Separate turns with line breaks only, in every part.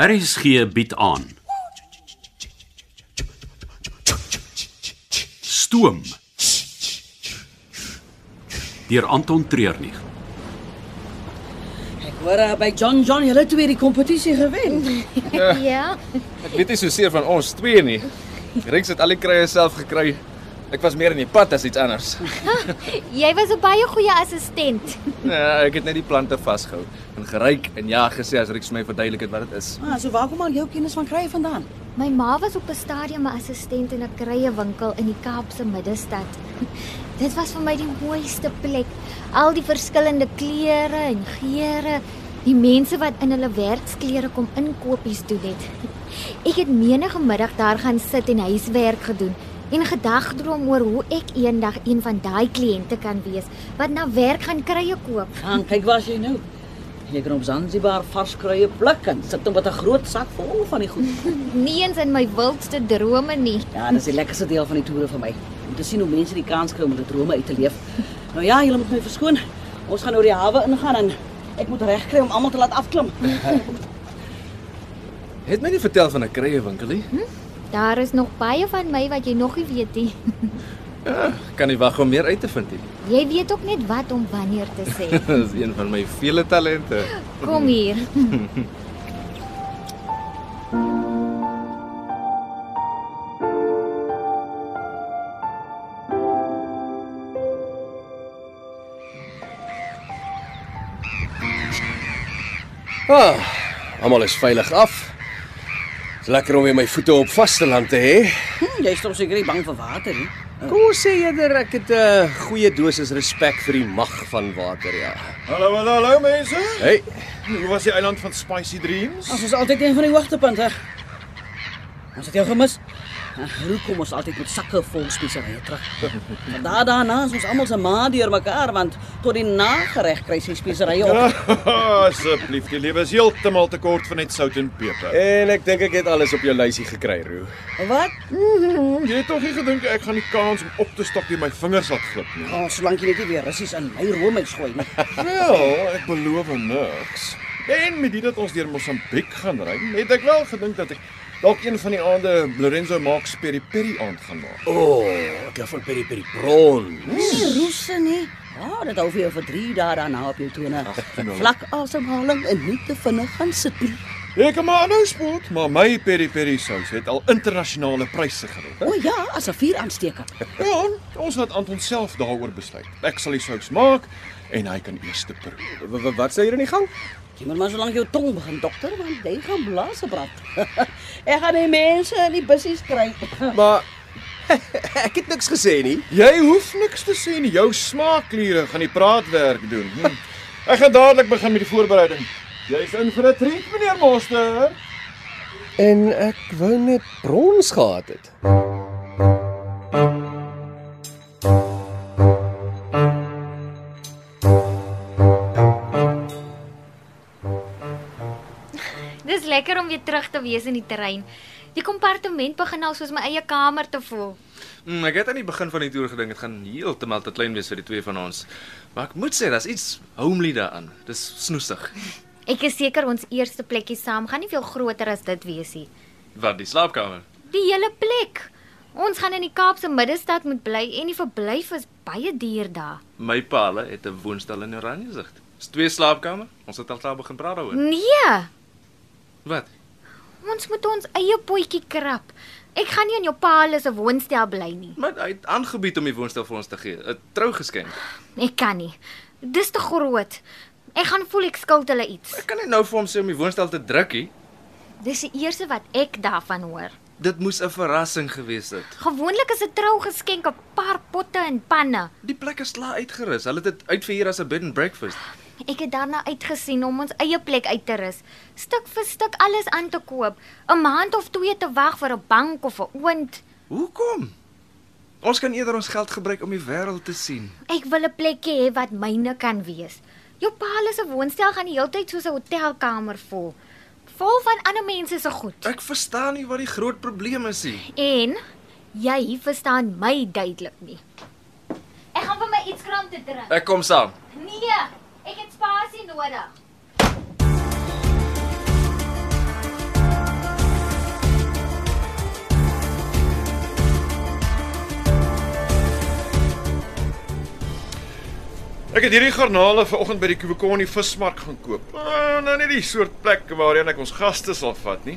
RSG bied aan. Stoom. Deur Anton Treurnig.
Ek hoor uh, by John John julle twee die kompetisie gewen.
Ja,
Ek weet nie so seer van ons twee nie. Rix het al die krye self gekry. Ek was meer in die pad as iets anders.
jy was 'n baie goeie assistent.
Ja, ek het net die plante vasgehou en geryk en ja gesê as Rix my verduidelik het wat dit is.
Ah, so waar kom al jou kennis van krye vandaan?
My ma was op 'n stadium 'n assistent in 'n kruiewinkel in die Kaapse middestad. Dit was vir my die mooiste plek. Al die verskillende kleure en geure, die mense wat in hulle werksklere kom inkopies doen het. Ek het menige middag daar gaan sit en huiswerk gedoen en gedagdroom oor hoe ek eendag een van daai kliënte kan wees wat na werk gaan krye koop.
Gaan kyk waar is jy nou. Jy kan op Zanzibar vars kruie pluk en sit hom met 'n groot sak vol van die goed.
Nie eens in my wildste drome nie.
Ja, dis die lekkerste deel van die toere vir my. Om te sien hoe mense die kans kry om hulle drome uit te leef. Nou ja, julle moet my verskoon. Ons gaan oor die hawe ingaan en ek moet regkry om almal te laat afklim.
Het my nie vertel van 'n krye winkel nie.
Daar is nog baie van my wat jy nog nie weet nie.
Hm?
Kan nie wag om meer uit te vind nie.
Jy weet ook net wat om wanneer te sê.
Dis een van my vele talente.
Kom hier.
Ah, almal is veilig af. Dis lekker om weer my voete op vasteland te hê.
Hm, jy is tog seker nie bang vir water nie.
Kom ons sê eerder ek het 'n goeie dosis respek vir die mag van water, ja.
Hallo, hallo, hallo mense.
Hey,
Hoe was die eiland van Spicy Dreams?
Ons is altyd een van die hoogtepunte. Ons het jou gemis. Hoe kom ons altyd met sakke vol speserye terug? Maar daar daarna is ons almal se ma deur mekaar want tot die nagereg kry sy speserye op.
Ja.
Asseblief, die lewe is heeltemal te kort vir net sout en peper.
en ek dink ek het alles op jou lysie gekry, Roo.
Wat?
Mm, Jy het tog nie gedink ek gaan die kans om op te stap deur my vingers laat glip nie.
Ons oh, solank jy net nie weer russies in my roomys gooi nie.
Wel, ek beloof niks. En met dit dat ons deur Mosambiek gaan ry, het ek wel gedink dat ek dalk een van die aande Lorenzo Max peri peri aand gaan maak.
O, oh, ek hou van peri peri prawn.
Nie roese nie. Ja, dit hou vir jou vir 3 dae daarna op jou tone. Vlak asemhaling en nie te vinnig gaan sit nie.
Jy kan maar aanhou spot, maar my peri peri sous het al internasionale pryse gewen.
O oh, ja, as 'n vuur aansteker.
Ja, ons laat Anton self daaroor besluit. Ek sal die sous maak en hy kan eers proe.
W- w- Wat sê hier in die gang?
Jy moet maar solank jou tong begin dokter want jy gaan blaas brand. ek gaan die mense in die bussies kry.
Maar ek het niks gesê nie.
Jy hoef niks te sê nie. Jou smaakkliere gaan die praatwerk doen. Hm. Ek gaan dadelik begin met die voorbereiding. Jy's in vir 'n treat, meneer Monster.
En ek wou net brons gehad het.
Dis lekker om weer terug te wees in die terrein. Die kompartement begin al soos my eie kamer te voel.
Mm, ek het aan die begin van die toer gedink dit gaan heeltemal te klein wees vir die twee van ons. Maar ek moet sê daar's iets homely daaraan. Dis snoesig.
Ek is seker ons eerste plekkie saam gaan nie veel groter as dit wees nie.
Wat die slaapkamer.
Die hele plek. Ons gaan in die Kaapse middestad moet bly en die verblyf is baie duur daar.
My paale het 'n woonstel in Oranjezicht. Dis twee slaapkamers. Ons het al klaar begin praat daaroor.
Nee,
Wat?
ons moet ons eie potjie krap. Ek gaan nie in jou pa se woonstel bly nie.
Maar hy het aangebied om die woonstel vir ons te gee, 'n trougeskenk.
Ek kan nie. Dis te groot. Ek gaan voel ek skuld hulle iets.
Ek kan nie nou vir hom sê om die woonstel te drukkie.
Dis die eerste wat ek daarvan hoor.
Dit moes 'n verrassing gewees het.
Gewoonlik is 'n trougeskenk 'n paar potte en panne.
Die plek is klaar uitgerus. Hulle het dit uitverhuur as 'n bed and breakfast.
Ek het daarna uitgesien om ons eie plek uit te rus, stuk vir stuk alles aan te koop, 'n maand of twee te wag vir 'n bank of 'n oond.
Hoekom? Ons kan eerder ons geld gebruik om die wêreld te sien.
Ek wil 'n plekkie hê wat myne kan wees. Jou pa se woonstel gaan die hele tyd soos 'n hotelkamer vol, vol van ander mense se goed.
Ek verstaan nie wat die groot probleem is nie.
En jy verstaan my duidelik nie. Ek gaan vir my iets kram te drink.
Ek kom saam.
Nee, ek het spasie nodig.
Ek het hierdie garnale vanoggend by die Kubekoni vismark gaan koop. Ah, nou nie die soort plek waarheen ek ons gaste sal vat nie.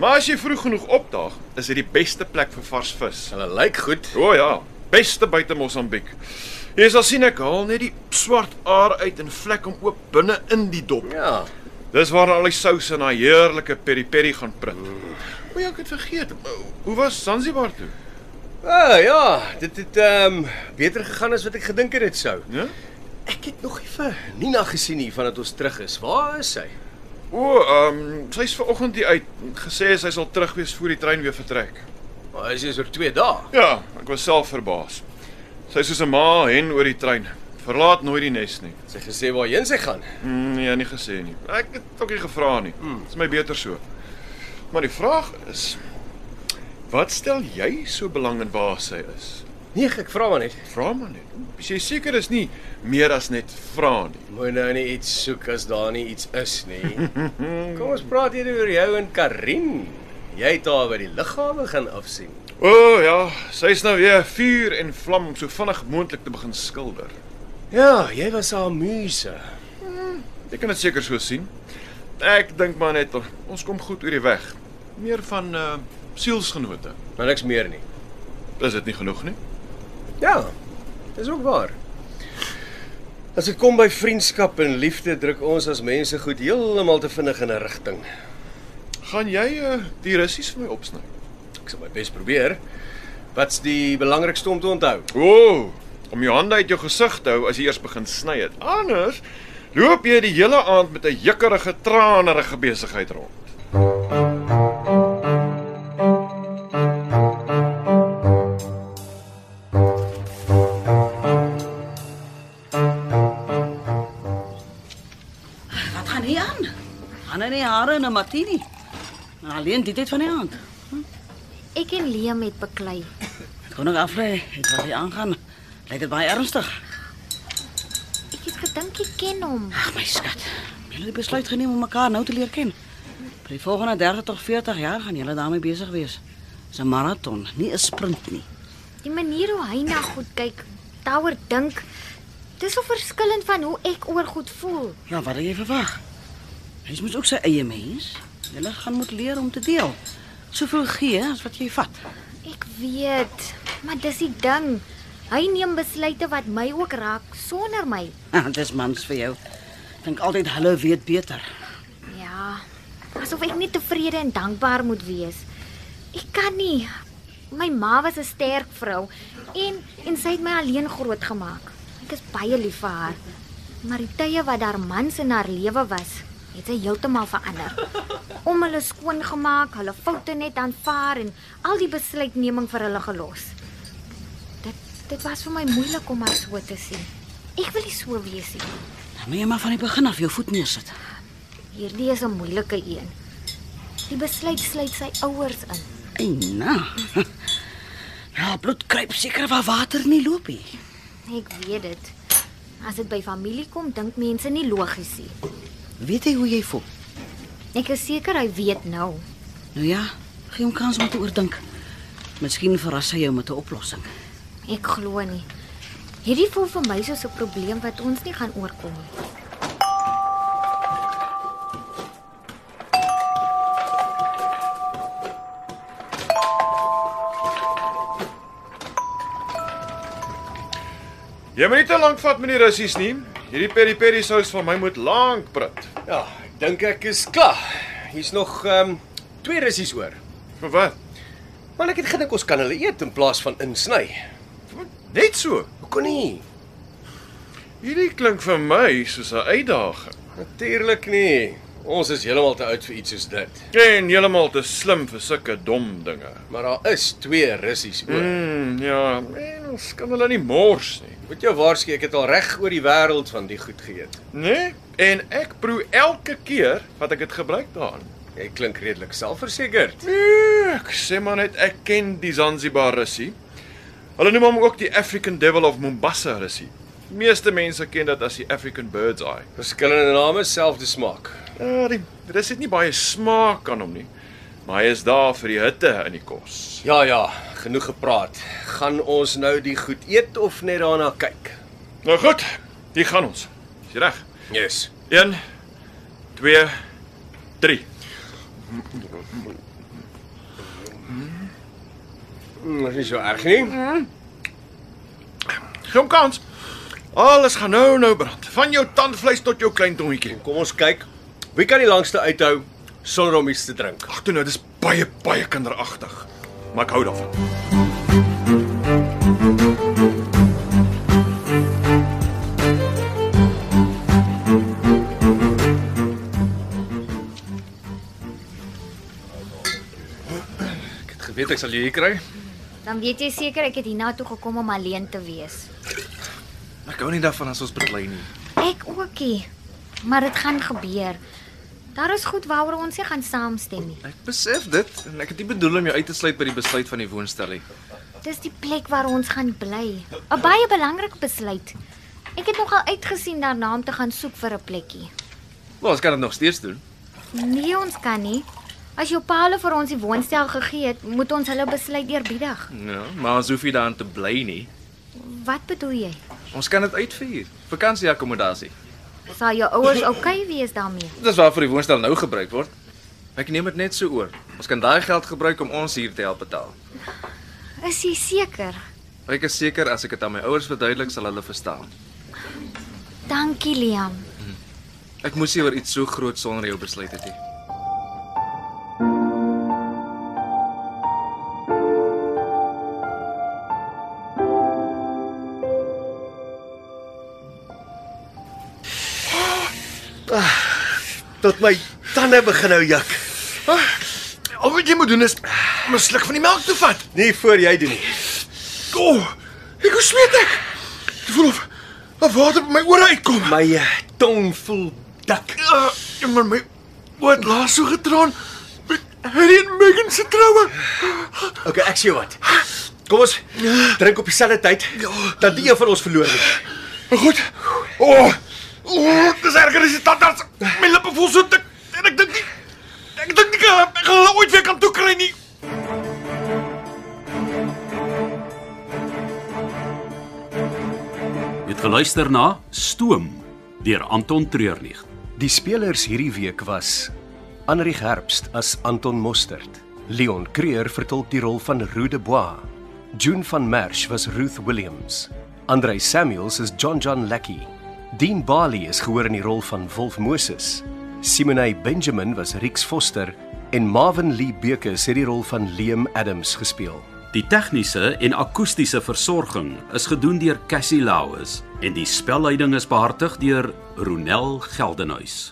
Maar as jy vroeg genoeg opdaag, is dit die beste plek vir vars vis.
Hulle lyk goed.
O oh, ja, beste buite Mosambiek. Jy sal sien ek haal net die swart aar uit en vlek hom oop binne in die dop.
Ja.
Dis waar al die sous en daai heerlike peri-peri gaan prut.
Hmm.
O, ja, ek het vergeet. Hoe was Zanzibar toe?
Ah, ja, dit het ehm um, beter gegaan as wat ek gedink het dit sou.
Ja?
Ek het nog nie vir Nina gesien nie vandat ons terug is. Waar is sy?
O, ehm um, sy's vanoggend hier uit. Gesê sy sal terug wees voor die trein weer vertrek.
Maar is jy's oor 2 dae.
Ja, ek was self verbaas. Sy's soos 'n ma hen oor die trein. Verlaat nooit die nes nie.
Sy gesê waarheen sy gaan.
Mm, nee, nie gesê nie. Ek het ook nie gevra nie. Dit is my beter so. Maar die vraag is wat stel jy so belang in waar sy is?
Nee, ek vra maar net.
Vra maar net. As jy seker is nie meer as net vra nie.
Mooi nou nie iets soek as daar nie iets is nie. Kom ons praat hier oor jou en Karin. Jy het haar by die lughawe gaan afsien.
O oh, ja, sy's nou weer vuur en vlam om so vinnig moontlik te begin skilder.
Ja, jy was haar muse.
Jy kan dit seker so sien. Ek dink maar net ons kom goed oor die weg. Meer van uh sielsgenote.
Maar niks meer nie.
Is dit nie genoeg nie?
Ja. Dis ook waar. As dit kom by vriendskap en liefde, druk ons as mense goed heeltemal te vinnig in 'n rigting.
Gaan jy uh die russies vir my opsny?
Ek sal my bes probeer. Wat's die belangrikste om te onthou?
O, oh, om jou hande uit jou gesig te hou as jy eers begin sny het. Anders loop jy die hele aand met 'n jikkerige, tranerige besigheid rond.
Wat gaan hier aan? Hanne nie hare en 'n martini. En alleen dit het van die aand.
Ek en Liam het beklei.
Ek kon nog aflei, dit wat hier aangaan. Lyk dit baie ernstig.
Ek het gedink jy ken hom.
Ag my skat. Julle het besluit geneem om mekaar nou te leer ken. Vir die volgende 30 tot 40 jaar gaan julle daarmee besig wees. Dis 'n maraton, nie 'n sprint nie.
Die manier hoe hy na goed kyk, daaroor dink, dis so verskillend van hoe ek oor goed voel.
Ja, wat het jy verwag? Mens moet ook sy eie mens. Julle gaan moet leer om te deel. Soveel gee as wat jy vat.
Ek weet, maar dis die ding. Hy neem besluite wat my ook raak sonder my.
Ah, Dis mans vir jou. Dink altyd hulle weet beter.
Ja. Asof ek net tevrede en dankbaar moet wees. Ek kan nie. My ma was 'n sterk vrou en en sy het my alleen grootgemaak. Ek is baie lief vir haar. Maar die tye wat daar mans in haar lewe was, het sy heeltemal verander. Om hulle skoongemaak, hulle foute net aanvaar en al die besluitneming vir hulle gelos. Dit dit was vir my moeilik om haar so te sien. Ek wil nie so wees nie.
Dan moet jy maar van die begin af jou voet neersit.
Hierdie is 'n moeilike een. Die besluit sluit sy ouers in.
Eina. nou. Ja, bloed kruip seker waar water nie loop nie.
Ek weet dit. As dit by familie kom, dink mense nie logies nie.
Weet jy hoe jy voel?
Ek is seker hy weet nou.
Nou ja, gee hom kans om te oordink. Miskien verras hy jou met 'n oplossing.
Ek glo nie. Hierdie voel vir my soos 'n probleem wat ons nie gaan oorkom nie.
Jy moet nie te lank vat met die russies nie. Hierdie peri-peri sous van my moet lank prut.
Ja, ek dink ek is klaar. Hier's nog ehm um, twee russies oor.
Vir wat?
Maar ek het gedink ons kan hulle eet in plaas van insny.
Net so.
Hoe kon nie?
Hierdie klink vir my soos 'n uitdaging
Natuurlik nie. Ons is heeltemal te oud vir iets soos dit.
en heeltemal te slim vir sulke dom dinge.
Maar daar is twee russies oor. Mm.
Mm, ja, en ons kan hulle nie mors nie.
Moet jou waarsku, ek het al reg oor die wêreld van die goed geëet.
Nee, en ek proe elke keer wat ek dit gebruik daarin.
Jy klink redelik selfversekerd.
Nee, ek sê maar net ek ken die Zanzibar russie. Hulle noem hom ook die African Devil of Mombasa russie. Meeste mense ken dit as die African Bird's Eye.
Verskillende name, selfde smaak.
Ja, die rus het nie baie smaak aan hom nie, maar hy is daar vir die hitte in die kos.
Ja ja, genoeg gepraat. Gaan ons nou die goed eet of net daarna kyk?
Nou goed, Hier gaan ons. Is jy reg?
Yes.
1 2 3
Mm, Dis nie so erg nie.
Gee hom kans. Alles gaan nou nou brand. Van jou tandvleis tot jou klein tongetjie.
Kom ons kyk wie kan die langste uithou sonder om iets te drink.
Ag toe nou, dis baie baie kinderagtig. Maar ek hou daarvan.
Ek het geweet ek sal jou hier kry.
Dan weet jy seker ek het hiernatoe gekom om alleen te wees.
Ek hou nie daarvan as ons beklei nie.
Ek ookie. Maar dit gaan gebeur. Daar is goed waaroor ons nie gaan saamstem nie.
Ek besef dit en ek het nie bedoel om jou uit te sluit by die besluit van die woonstel nie.
Dis die plek waar ons gaan bly. 'n Baie belangrike besluit. Ek het nogal uitgesien daarna om te gaan soek vir 'n plekkie.
Wel, ons kan dit nog steeds doen.
Nee, ons kan nie. As jou pa hulle vir ons die woonstel gegee het, moet ons hulle besluit eerbiedig.
Ja, maar ons hoef nie daarin te bly nie.
Wat bedoel jy?
Ons kan dit uitvier. Vakansieakkommodasie.
Sal jou ouers oukei okay wees daarmee?
Dis waarvoor die woonstel nou gebruik word. Ek neem dit net so oor. Ons kan daai geld gebruik om ons huur te help betaal.
Is jy seker?
Ek is seker as ek dit aan my ouers verduidelik, sal hulle verstaan.
Dankie, Liam.
Ek moes nie oor iets so groot sonder jou besluit het nie.
Tot my tande begin nou juk.
Ah, Al wat jy moet doen is om 'n sluk van die melk te vat.
Nie Nee, voor jy doen nie.
O, oh, ek hoe smeet ek. Ek voel of of water by my ore uitkom.
My eh, tong voel dik.
Uh, maar my oor het laas so getraan met Harry en Meghan se troue.
Okay, ek sê jou wat. Kom ons drink op dieselfde tyd
Ja.
dat die een van ons verloor het.
Maar goed. O, oh, o, oh, dis erger as die tandarts. My lippe voel so dik en ek dink nie ek dink nie ek gaan- ek gaan hulle ooit weer kan toe kry nie.
Jy het geluister na Stoom deur Anton Treurnig.
Die spelers hierdie week was Anrich Herbst as Anton Mostert, Leon Creer vertolk die rol van Rue de Bois, June van Merch was Ruth Williams, Andrei Samuels is John John Lackey, Dean Bali is gehoor in die rol van Wolf Moses, Simone Benjamin was Rix Foster en Marvin Lee Beke het die rol van Liam Adams gespeel.
Die tegniese en akoestiese versorging is gedoen deur Cassie Lauis en die spelleiding is behartig deur Ronel Geldenhuys.